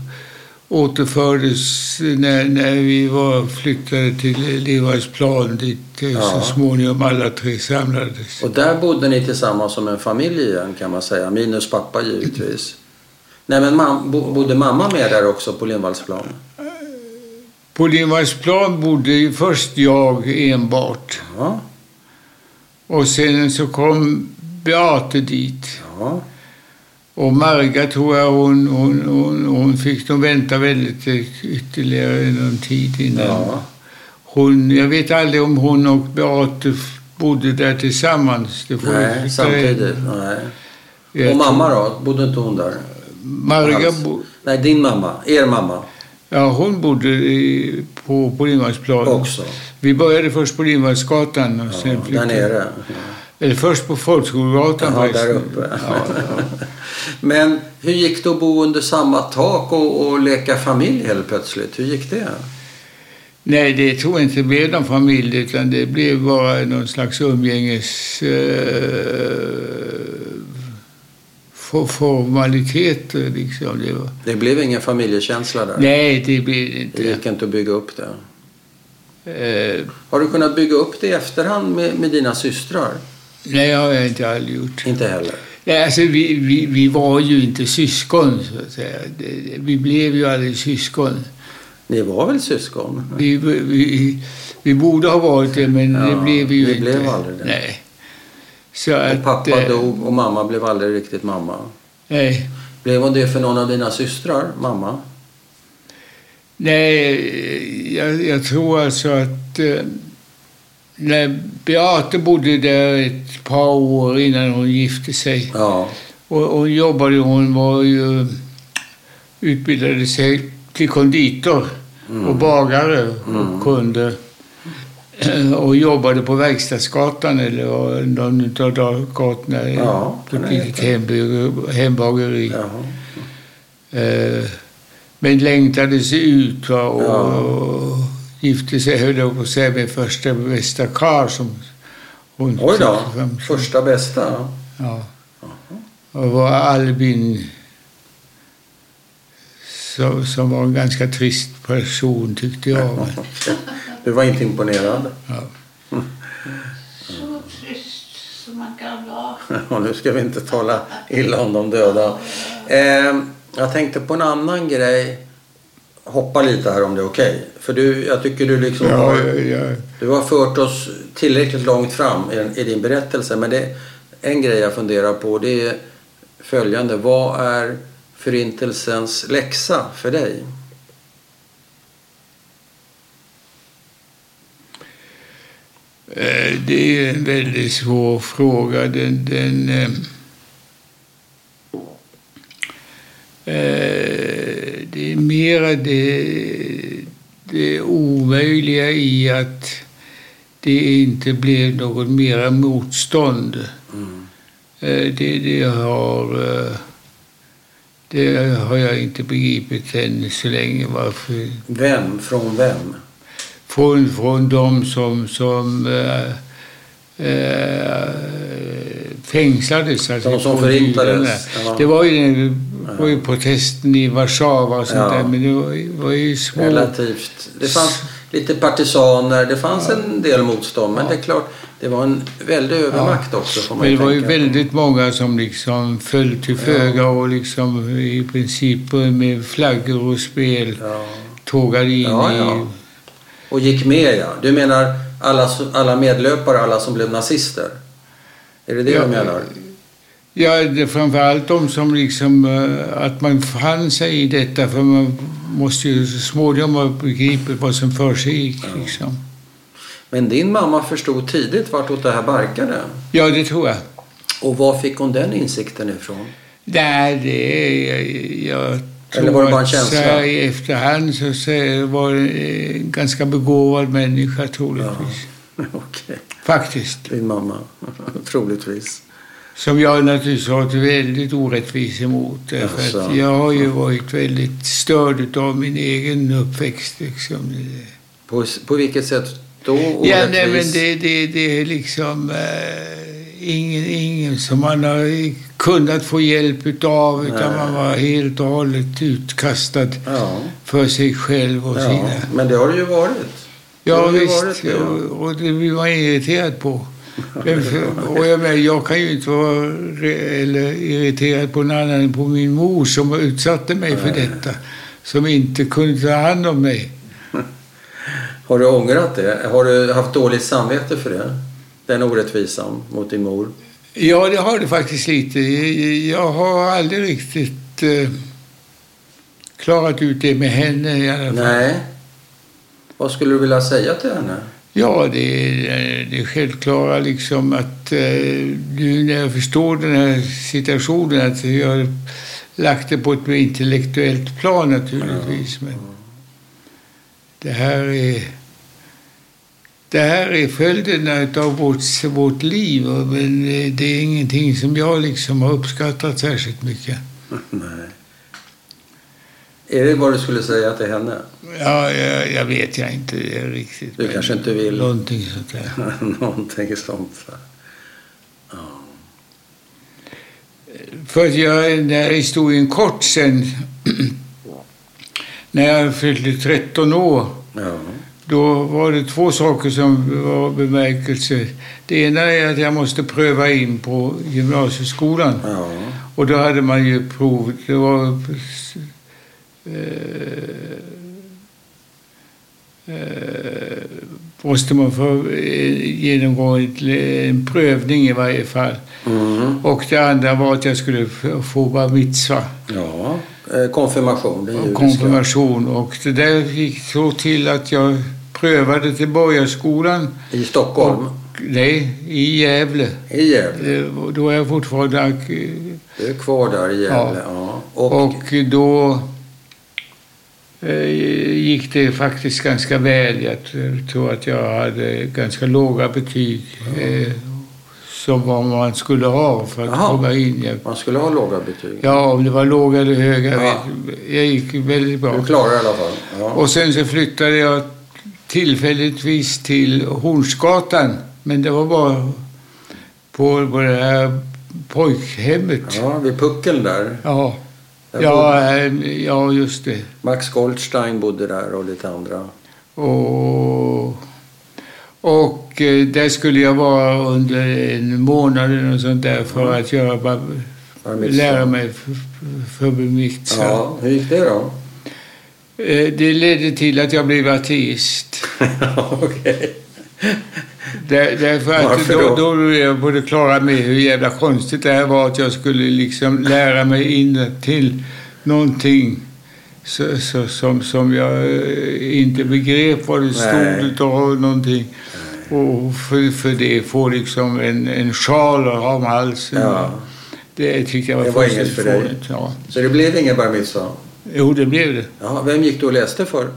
A: återfördes när, när vi var flyttade till Livarsplan dit eh,
B: Ja.
A: så småningom alla tre samlades.
B: Och där bodde ni tillsammans som en familj igen kan man säga, minus pappa givetvis. Nej men mam- bo- bodde mamma med där också på Lindvallsplan?
A: På Livarsplan bodde ju först jag enbart.
B: Ja,
A: Och sen så kom Beate dit.
B: ja.
A: Och Marga tror jag hon, hon, hon, hon fick nog vänta väldigt eh, ytterligare någon tid innan.
B: ja.
A: Hon, jag vet aldrig om hon och Beate f- bodde där tillsammans. Det får vi
B: Nej,
A: titta
B: samtidigt.
A: in.
B: Nej.
A: Jag
B: Och
A: tror-
B: mamma då? Bodde inte hon där?
A: Marga,
B: alls?
A: bo,
B: Nej, din mamma. Er mamma
A: ja hon bodde i, på, på Lindvallsplan.
B: också.
A: Vi började först på Lindvallsgatan och
B: Ja,
A: sen
B: där
A: flyttade
B: nere.
A: Eller först på Folkskolgatan
B: Jaha, där
A: förresten.
B: uppe.
A: Ja, ja.
B: Men hur gick det att bo under samma tak och, och leka familj helt plötsligt? Hur gick det?
A: Nej, det tror jag inte blev någon familj, utan det blev bara någon slags umgänges... Eh, for- formaliteter, liksom. Det var.
B: Det blev ingen familjekänsla där.
A: Nej, det blev det
B: Det
A: inte.
B: gick inte att bygga upp det.
A: Eh,
B: Har du kunnat bygga upp det i efterhand med, med dina systrar?
A: nej, har jag inte aldrig gjort.
B: Inte heller.
A: Nej, alltså, vi, vi, vi var ju inte syskon, så att säga. Det, det- vi blev ju aldrig syskon.
B: Ni var väl syskon?
A: Vi, vi, vi borde ha varit det, men
B: Ja,
A: det blev vi ju
B: vi
A: inte.
B: blev aldrig det.
A: Nej. Så
B: Och
A: att...
B: pappa
A: eh,
B: dog och mamma blev aldrig riktigt mamma.
A: Nej.
B: Blev hon det för någon av dina systrar, mamma?
A: Nej, jag, jag tror alltså att eh, när Beate bodde där ett par år innan hon gifte sig.
B: Ja,
A: Och hon jobbade, hon var ju utbildade sig till konditor och bagare och kunde eh, och jobbade på Verkstadsgatan eller var någon av gatorna.
B: Ja,
A: på ett
B: kan jag
A: litet hembygge- hembageri.
B: jaha.
A: Eh, men längtade sig ut va, och
B: Ja.
A: gifte sig, höll jag på att säga, med första bästa karl som hon
B: Oj då,
A: fick fram-
B: första bästa.
A: Ja. Och var Albin som, som var en ganska trist person tyckte jag. Men,
B: Du var inte imponerad.
A: ja.
C: Så trist som man kan vara.
B: Och nu ska vi inte tala illa om de döda. Eh, jag tänkte på en annan grej. Hoppa lite här om det är okej. För du, jag tycker du liksom
A: Ja,
B: har,
A: ja, ja.
B: du har fört oss tillräckligt långt fram i, i din berättelse. Men det, en grej jag funderar på det är följande. Vad är Förintelsens läxa för dig?
A: Eh, Det är ju en väldigt svår fråga. Den, den, eh, eh, det är mera det, det omöjliga i att det inte blev något mera motstånd. Eh, Det, det, har, eh, det har jag inte begripit än så länge varför
B: Vem? Från vem?
A: från, från de som, som eh, eh, fängslades. Alltså,
B: De som
A: på
B: förintades,
A: bilderna.
B: ja.
A: Det var ju, den- det var ju protesten i Warszawa och sånt
B: Ja.
A: där, men det var, ju- var ju små...
B: Relativt. Det fanns lite partisaner, det fanns en del motstånd. Men det är klart, det var en väldig övermakt också får man
A: Men det
B: ju
A: var ju
B: tänka på.
A: väldigt många som liksom föll till föga och liksom i princip med flaggor och spel
B: Ja.
A: tågade in
B: Ja, ja.
A: i...
B: Och gick med ja. Du menar alla, alla medlöpare, alla som blev nazister? Är det det
A: Ja.
B: du menar?
A: Ja, det är framförallt de som liksom, eh, att man fann sig i detta för man måste ju så småningom ha begripit vad som försiggick. Liksom.
B: Men din mamma förstod tidigt vartåt det här barkade.
A: Ja, det tror jag.
B: Och var fick hon den insikten ifrån?
A: Nej, det är... Jag tror
B: Eller var det bara en
A: att
B: känsla?
A: Så här i efterhand så så var det en ganska begåvad människa troligtvis.
B: Okej,
A: Faktiskt.
B: din mamma. Troligtvis.
A: Som jag naturligtvis har varit väldigt orättvis emot. Därför
B: Jaså.
A: att jag har ju varit väldigt störd av min egen uppväxt. Liksom.
B: På, på vilket sätt då?
A: Ja,
B: Orättvis?
A: nej, men det, det, det är liksom eh, ingen, ingen som man har kunnat få hjälp utav utan
B: Nej.
A: man var helt och hållet utkastad
B: Ja,
A: för sig själv och
B: ja.
A: sina.
B: men det har det ju varit. det
A: Ja,
B: har ju
A: visst.
B: varit det, ja.
A: och, och det blir man irriterad på. Men för- Och jag, menar, jag kan ju inte vara re- eller irriterad på någon annan än på min mor som utsatte mig för detta. Som inte kunde ta hand om mig.
B: Har du ångrat det? Har du haft dåligt samvete för det? Den orättvisan mot din mor?
A: Ja, det har det faktiskt lite. Jag- Jag har aldrig riktigt eh, klarat ut det med henne i alla fall.
B: Nej. Vad skulle du vilja säga till henne?
A: Ja, det är det är självklara liksom att eh, nu när jag förstår den här situationen att jag har lagt det på ett mer intellektuellt plan naturligtvis. Men det här är, det här är följderna av vårt, vårt liv och men eh, det är ingenting som jag liksom har uppskattat särskilt mycket.
B: Nej. Är det vad du skulle säga till henne?
A: Ja, jag, jag vet jag inte riktigt.
B: Du
A: men
B: kanske inte vill.
A: Någonting sånt där.
B: Någonting sånt. va?
A: För att göra den här historien kort sen. När jag fyllde 13 år,
B: Ja.
A: då var det två saker som var av bemärkelse. Det ena är att jag måste pröva in på gymnasieskolan.
B: ja.
A: Och då hade man ju prov. Det var... Eh, eh, måste man få eh, genomgå ett, en prövning i varje fall.
B: Mm.
A: Och det andra var att jag skulle f- få bar mitzva
B: ja. Eh, Konfirmation, den
A: och
B: judiska.
A: konfirmation. Och det där gick så till att jag prövade till borgarskolan.
B: I Stockholm?
A: Och, nej, i Gävle.
B: I Gävle?
A: Det var- Då var jag fortfarande... ak-
B: Du är kvar där i Gävle? Ja. Och,
A: Och då eh, gick det faktiskt ganska väl. Jag t- tror att jag hade ganska låga betyg. Eh, som vad man skulle ha för att
B: Jaha.
A: komma in. Jag
B: man skulle ha låga betyg?
A: Ja, om det var låga eller höga. jag
B: Ja.
A: vet- Jag gick väldigt bra.
B: Du klarar det i alla fall? Ja.
A: Och sen så flyttade jag tillfälligtvis till Hornsgatan. Men det var bara på, på det här pojkhemmet. Ja,
B: ja, vid puckeln där.
A: ja.
B: Där
A: eh, ja just det.
B: Max Goldstein bodde där och lite andra.
A: Och, och eh, där skulle jag vara under en månad eller något sånt där för att göra, bara,
B: Bar mitzvah.
A: lära mig för, för mitt
B: Ja, hur gick det då?
A: Eh, Det ledde till att jag blev ateist.
B: Okej.
A: Där, därför att
B: Varför
A: då,
B: då?
A: då blev jag på det klara med hur jävla konstigt det här var att jag skulle liksom lära mig in till någonting så, så, som, som jag eh, inte begrep vad det
B: Nej.
A: stod utav någonting. Och för, för det få liksom en, en sjal om halsen.
B: Ja.
A: Det tyckte jag var,
B: Det var inget
A: fullständigt
B: för dig.
A: fånigt, Ja.
B: Så det blev ingen bar mitzvah?
A: Jo, det blev det.
B: Ja, vem gick du och läste för?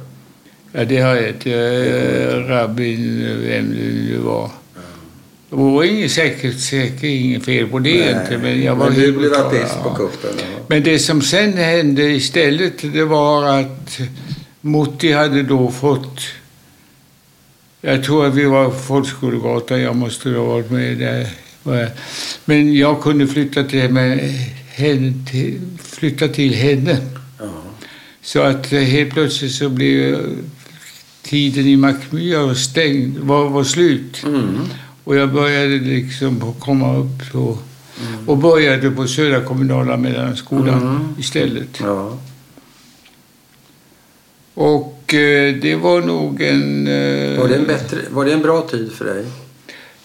A: Ja, det har jag inte. Eh, Rabbin, vem det nu var. Det var inget säkert, säkert inget fel på det
B: Nej.
A: inte, men jag var
B: men du
A: helt
B: blev
A: klar,
B: ateist
A: ja.
B: på kuppen? ja.
A: Men det som sen hände istället, det var att Mutti hade då fått... Jag tror att vi var på Folkskolegatan, jag måste ha varit med där. var jag. Men jag kunde flytta till, med, henne, till, flytta till henne.
B: Ja.
A: Så att eh, helt plötsligt så blev eh, tiden i Mackmyra stängd, var, var slut.
B: Mm.
A: Och jag började liksom på- komma upp på, och började på Södra kommunala mellanskolan
B: Mm.
A: istället.
B: Ja.
A: Och eh, det var nog en... eh,
B: Var, det en bättre, var det en bra tid för dig?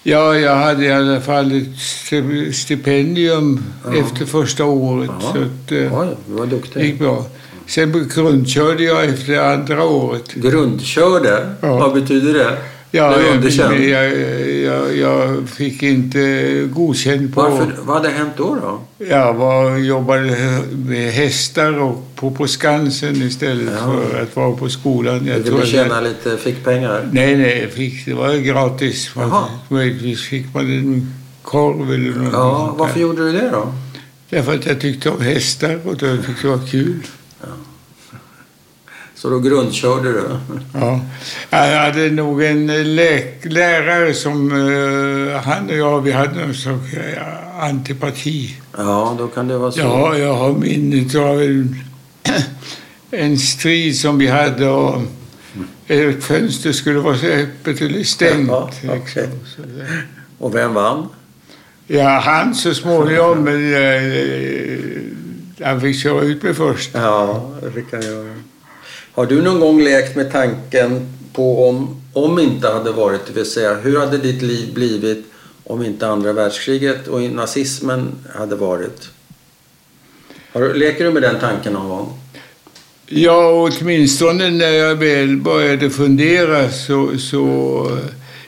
A: Ja, jag hade i alla fall ett sti- stipendium
B: Ja.
A: efter första året.
B: Ja.
A: Så att, eh,
B: Oj, du var
A: det gick
B: duktig.
A: bra. Sen grundkörde jag efter andra året.
B: Grundkörde?
A: Ja.
B: Vad betyder det?
A: Ja,
B: Blev
A: jag,
B: underkänd?
A: jag, jag, jag fick inte godkänt på...
B: Varför, vad hade hänt då? då?
A: Jag var, jobbade med hästar och på, på Skansen istället
B: Ja.
A: för att vara på skolan.
B: Du
A: Jag tror
B: ville
A: att
B: tjäna
A: jag,
B: lite, fick pengar?
A: nej, nej, jag fick, det var gratis.
B: Jaha.
A: Möjligtvis fick man en korv eller något
B: Ja,
A: sånt där.
B: varför gjorde du det då?
A: Därför att jag tyckte om hästar och då tyckte det var kul.
B: Så då grundkörde du?
A: Ja. Jag hade nog en läk- lärare som eh, han och jag, vi hade en sorts eh, antipati.
B: Ja, då kan det vara så.
A: Ja, jag har minnet av en, en strid som vi hade om ett fönster skulle vara så öppet eller stängt.
B: Ja, okej.
A: liksom. Så det-
B: Och vem vann?
A: Ja, han så småningom, men eh, han fick köra ut mig först.
B: Ja, det kan jag göra. Har du någon gång lekt med tanken på om, om inte hade varit, det vill säga hur hade ditt liv blivit om inte andra världskriget och nazismen hade varit? Har du, leker du med den tanken någon gång?
A: Ja, och åtminstone när jag väl började fundera så, så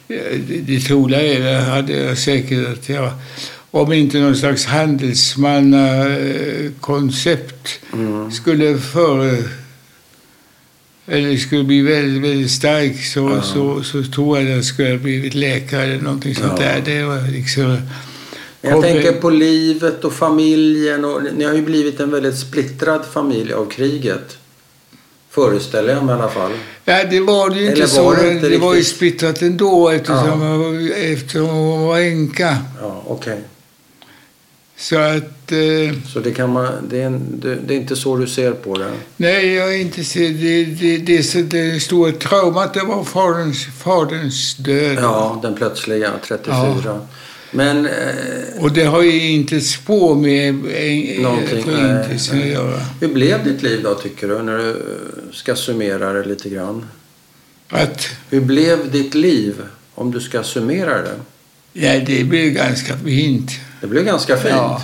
A: eh, det, det troliga är, det hade jag säkert att jag, om inte någon slags handelsmannakoncept
B: Mm.
A: skulle före, eller skulle bli väldigt, väldigt stark så,
B: Ja.
A: så, så tror jag att jag skulle ha blivit läkare eller någonting sånt
B: Ja.
A: där. Det var liksom,
B: Jag
A: Kom-
B: tänker på livet och familjen. Och, ni har ju blivit en väldigt splittrad familj av kriget. Föreställer jag mig i alla fall.
A: Ja, det var det ju
B: Eller
A: inte
B: var
A: så.
B: det
A: Det,
B: inte
A: det var ju
B: riktigt?
A: splittrat ändå eftersom,
B: Ja.
A: hon var- eftersom hon var änka.
B: Ja, okej.
A: Så att, eh,
B: Så det, kan man, det, är en, det, det är inte så du ser på det?
A: nej jag är inte så, det, det, det, är så, det stora traumat det var faderns, faderns död.
B: Ja, den plötsliga 34. Men eh,
A: Och det har ju inte ett spår med eh,
B: Någonting,
A: förintelsen
B: nej,
A: att
B: nej.
A: göra.
B: hur blev ditt liv då tycker du? När du eh, ska summera det lite grann.
A: Att,
B: Hur blev ditt liv om du ska summera det?
A: ja, det blev ganska fint.
B: Det blev ganska fint.
A: Ja.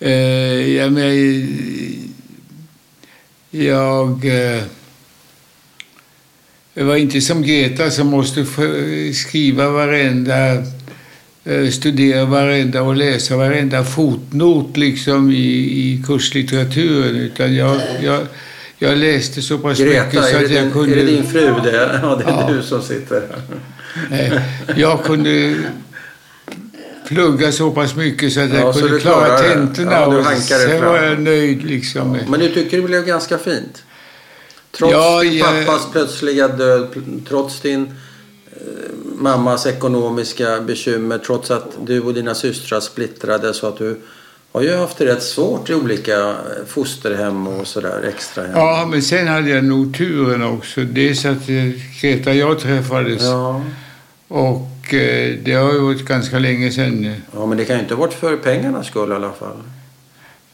A: Eh, jag, men, jag, eh, jag var inte som Greta som måste f- skriva varenda, eh, studera varenda och läsa varenda fotnot liksom i, i kurslitteraturen. Utan jag, jag, jag läste så pass mycket
B: Greta,
A: så
B: är det,
A: att jag
B: din,
A: kunde...
B: är det din fru det? Ja, det är
A: Ja.
B: du som sitter här.
A: Nej, jag kunde plugga så pass mycket så att jag
B: Ja, så
A: kunde
B: du
A: klara
B: klarade det.
A: tentorna.
B: Ja, du
A: och
B: hankade
A: sen
B: fram.
A: var jag nöjd liksom. med-
B: Men du tycker det blev ganska fint? Trots
A: Ja,
B: din
A: jag-
B: pappas plötsliga död, pl- trots din eh, mammas ekonomiska bekymmer, trots att du och dina systrar splittrades så att du har ju haft det rätt svårt i olika eh, fosterhem och sådär, extrahem.
A: Ja, men sen hade jag nog turen också. Dels att eh, Greta och jag träffades
B: ja.
A: och eh, det har ju varit ganska länge sedan nu.
B: Ja, men det kan ju inte ha varit för pengarnas skull i alla fall.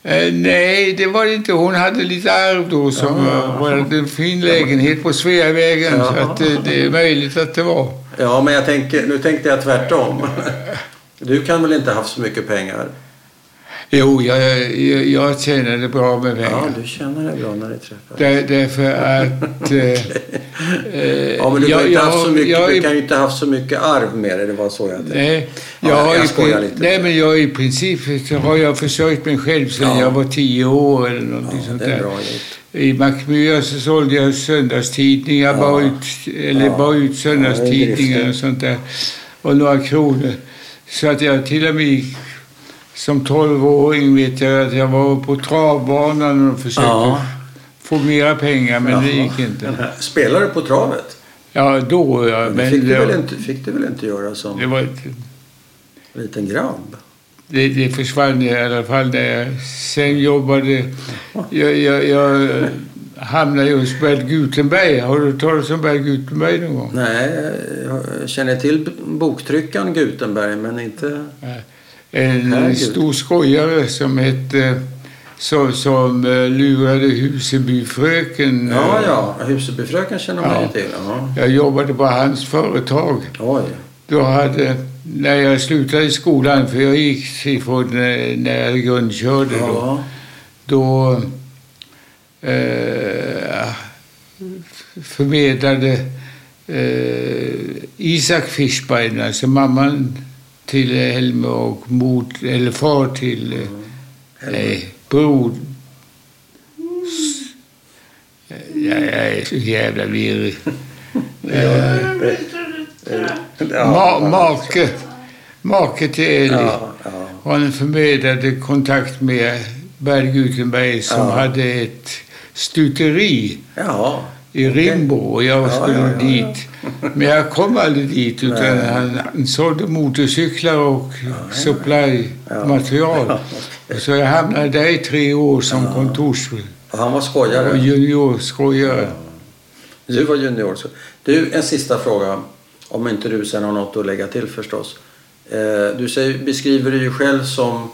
A: Eh, nej, det var det inte. Hon hade lite arv då som
B: Ja.
A: var var en fin lägenhet på Sveavägen. Så
B: Ja.
A: att, eh, det är möjligt att det var.
B: Ja, men jag tänker, nu tänkte jag tvärtom. Du kan väl inte ha haft så mycket pengar?
A: Jo, jag, jag, jag tjänade bra med
B: Ja,
A: pengar.
B: du känner dig bra när du träffar.
A: Där, därför att... Eh, eh,
B: Ja, men du, har
A: jag-
B: ju inte haft så
A: jag-
B: mycket,
A: jag-
B: du kan ju inte ha haft så mycket arv med dig. Det var så jag tänkte.
A: Nej,
B: Ja,
A: jag har
B: jag
A: i
B: skojar
A: prin-
B: lite.
A: Nej, men jag i princip så har jag försörjt mig själv sedan
B: Ja.
A: jag var tio år eller någonting
B: Ja,
A: sånt
B: det är
A: där.
B: bra gjort.
A: I Macmyra så sålde jag söndagstidningar,
B: Ja.
A: bara ut, eller
B: Ja.
A: bara ut
B: Ja, det är
A: söndagstidningar
B: driften.
A: och sånt där. Och några kronor. Så att jag till och med gick- som tolvåring vet jag att jag var på travbanan och försökte
B: Ja.
A: få mera pengar, men det
B: Jaha.
A: gick inte.
B: Spelar du på travet?
A: Ja, då ja.
B: det
A: Men
B: fick,
A: det,
B: du väl inte, fick du väl inte göra som
A: det var ett
B: liten grabb?
A: Det, det försvann i alla fall när jag sen jobbade. Jag, jag, jag hamnade hos Bert Gutenberg. Har du hört talas om Bert Gutenberg någon gång?
B: Nej, jag känner till boktryckaren Gutenberg, men inte...
A: En
B: Herregud.
A: stor skojare som hette som, som eh, lurade Husebyfröken.
B: Ja, ja, Husebyfröken känner man
A: Ja.
B: ju till. Ja.
A: Jag jobbade på hans företag.
B: Oj.
A: Då hade, när jag slutade i skolan, för jag gick ifrån eh, när jag grundkörde då.
B: Ja.
A: då eh, förmedlade eh, Isak Fischbein, alltså mamman till Helmer och mor, eller far till eh, nej, bror. S- Jag, jag är så jävla virrig. Eh, Ma, make, make till Eli.
B: Ja, ja.
A: Han förmedlade kontakt med Berg Gutenberg som
B: Ja.
A: hade ett stuteri
B: ja.
A: i Rimbo och jag
B: Ja,
A: skulle
B: ja, ja,
A: dit. Men jag kom aldrig dit utan
B: Nej.
A: han, han sålde motorcyklar och supply-material.
B: Ja,
A: Så jag hamnade där i tre år som kontors
B: Och han var
A: och
B: skojare.
A: juniorskojare.
B: Du var junior. så- Du, en sista fråga. Om inte du sen har något att lägga till förstås. Eh, Du säger, beskriver dig ju själv som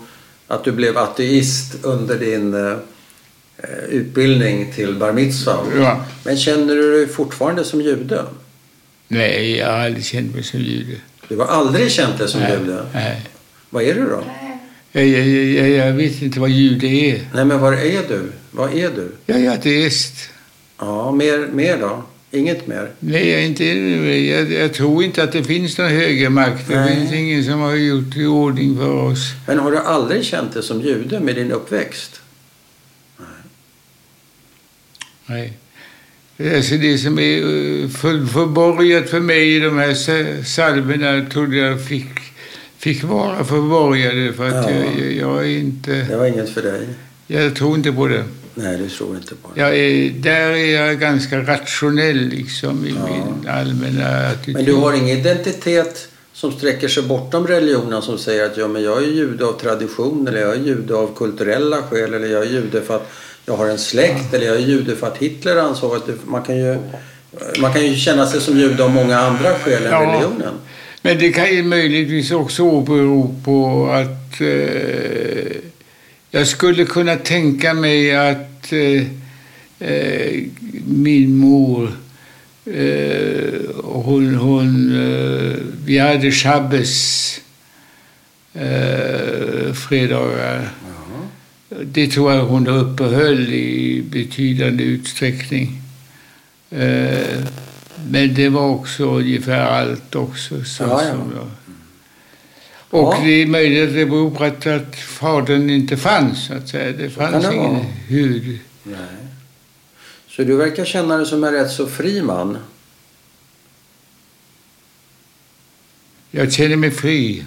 B: att du blev ateist under din eh, utbildning till bar mitzvah.
A: Ja.
B: Men känner du dig fortfarande som jude?
A: Nej, jag har aldrig känt mig som jude.
B: Du har aldrig känt dig som
A: Nej,
B: jude.
A: nej.
B: Vad är du då?
A: Jag, jag, jag, jag vet inte vad jude är.
B: Nej, men vad är du? Vad är du?
A: Jag är ateist.
B: Ja, mer, mer då? Inget mer?
A: Nej, jag, är inte, jag, jag tror inte att det finns någon högre makt. Det
B: Nej.
A: finns ingen som har gjort i ordning för oss.
B: Men har du aldrig känt dig som jude med din uppväxt?
A: Nej. Alltså det som är eh, för, förborgat för mig i de här sa- psalmerna trodde jag fick, fick vara förborgade för att
B: Ja.
A: jag, jag, jag är inte...
B: Det var inget för dig?
A: Jag tror inte på det.
B: Nej, du tror inte på det.
A: Jag är, där är jag ganska rationell liksom i
B: Ja.
A: min allmänna attityd.
B: Men du har ingen identitet som sträcker sig bortom religionen som säger att ja, men jag är jude av tradition eller jag är jude av kulturella skäl eller jag är jude för att jag har en släkt eller jag är jude för att Hitler ansåg att det, man kan ju man kan ju känna sig som jude av många andra skäl än
A: Ja.
B: religionen.
A: Men det kan ju möjligtvis också bero på att eh, jag skulle kunna tänka mig att eh, eh, min mor, eh, hon, hon eh, vi hade shabbes eh, fredagar. Det tror jag hon uppehöll i betydande utsträckning. Eh, Men det var också ungefär allt också. Så
B: Ja, ja.
A: Som jag. Och
B: Ja.
A: det är möjligt att det beror på att, att fadern inte fanns, så att säga. Det
B: kan
A: fanns
B: det
A: ingen
B: vara.
A: hud.
B: Nej. Så du verkar känna dig som en rätt så fri man.
A: Jag känner mig fri.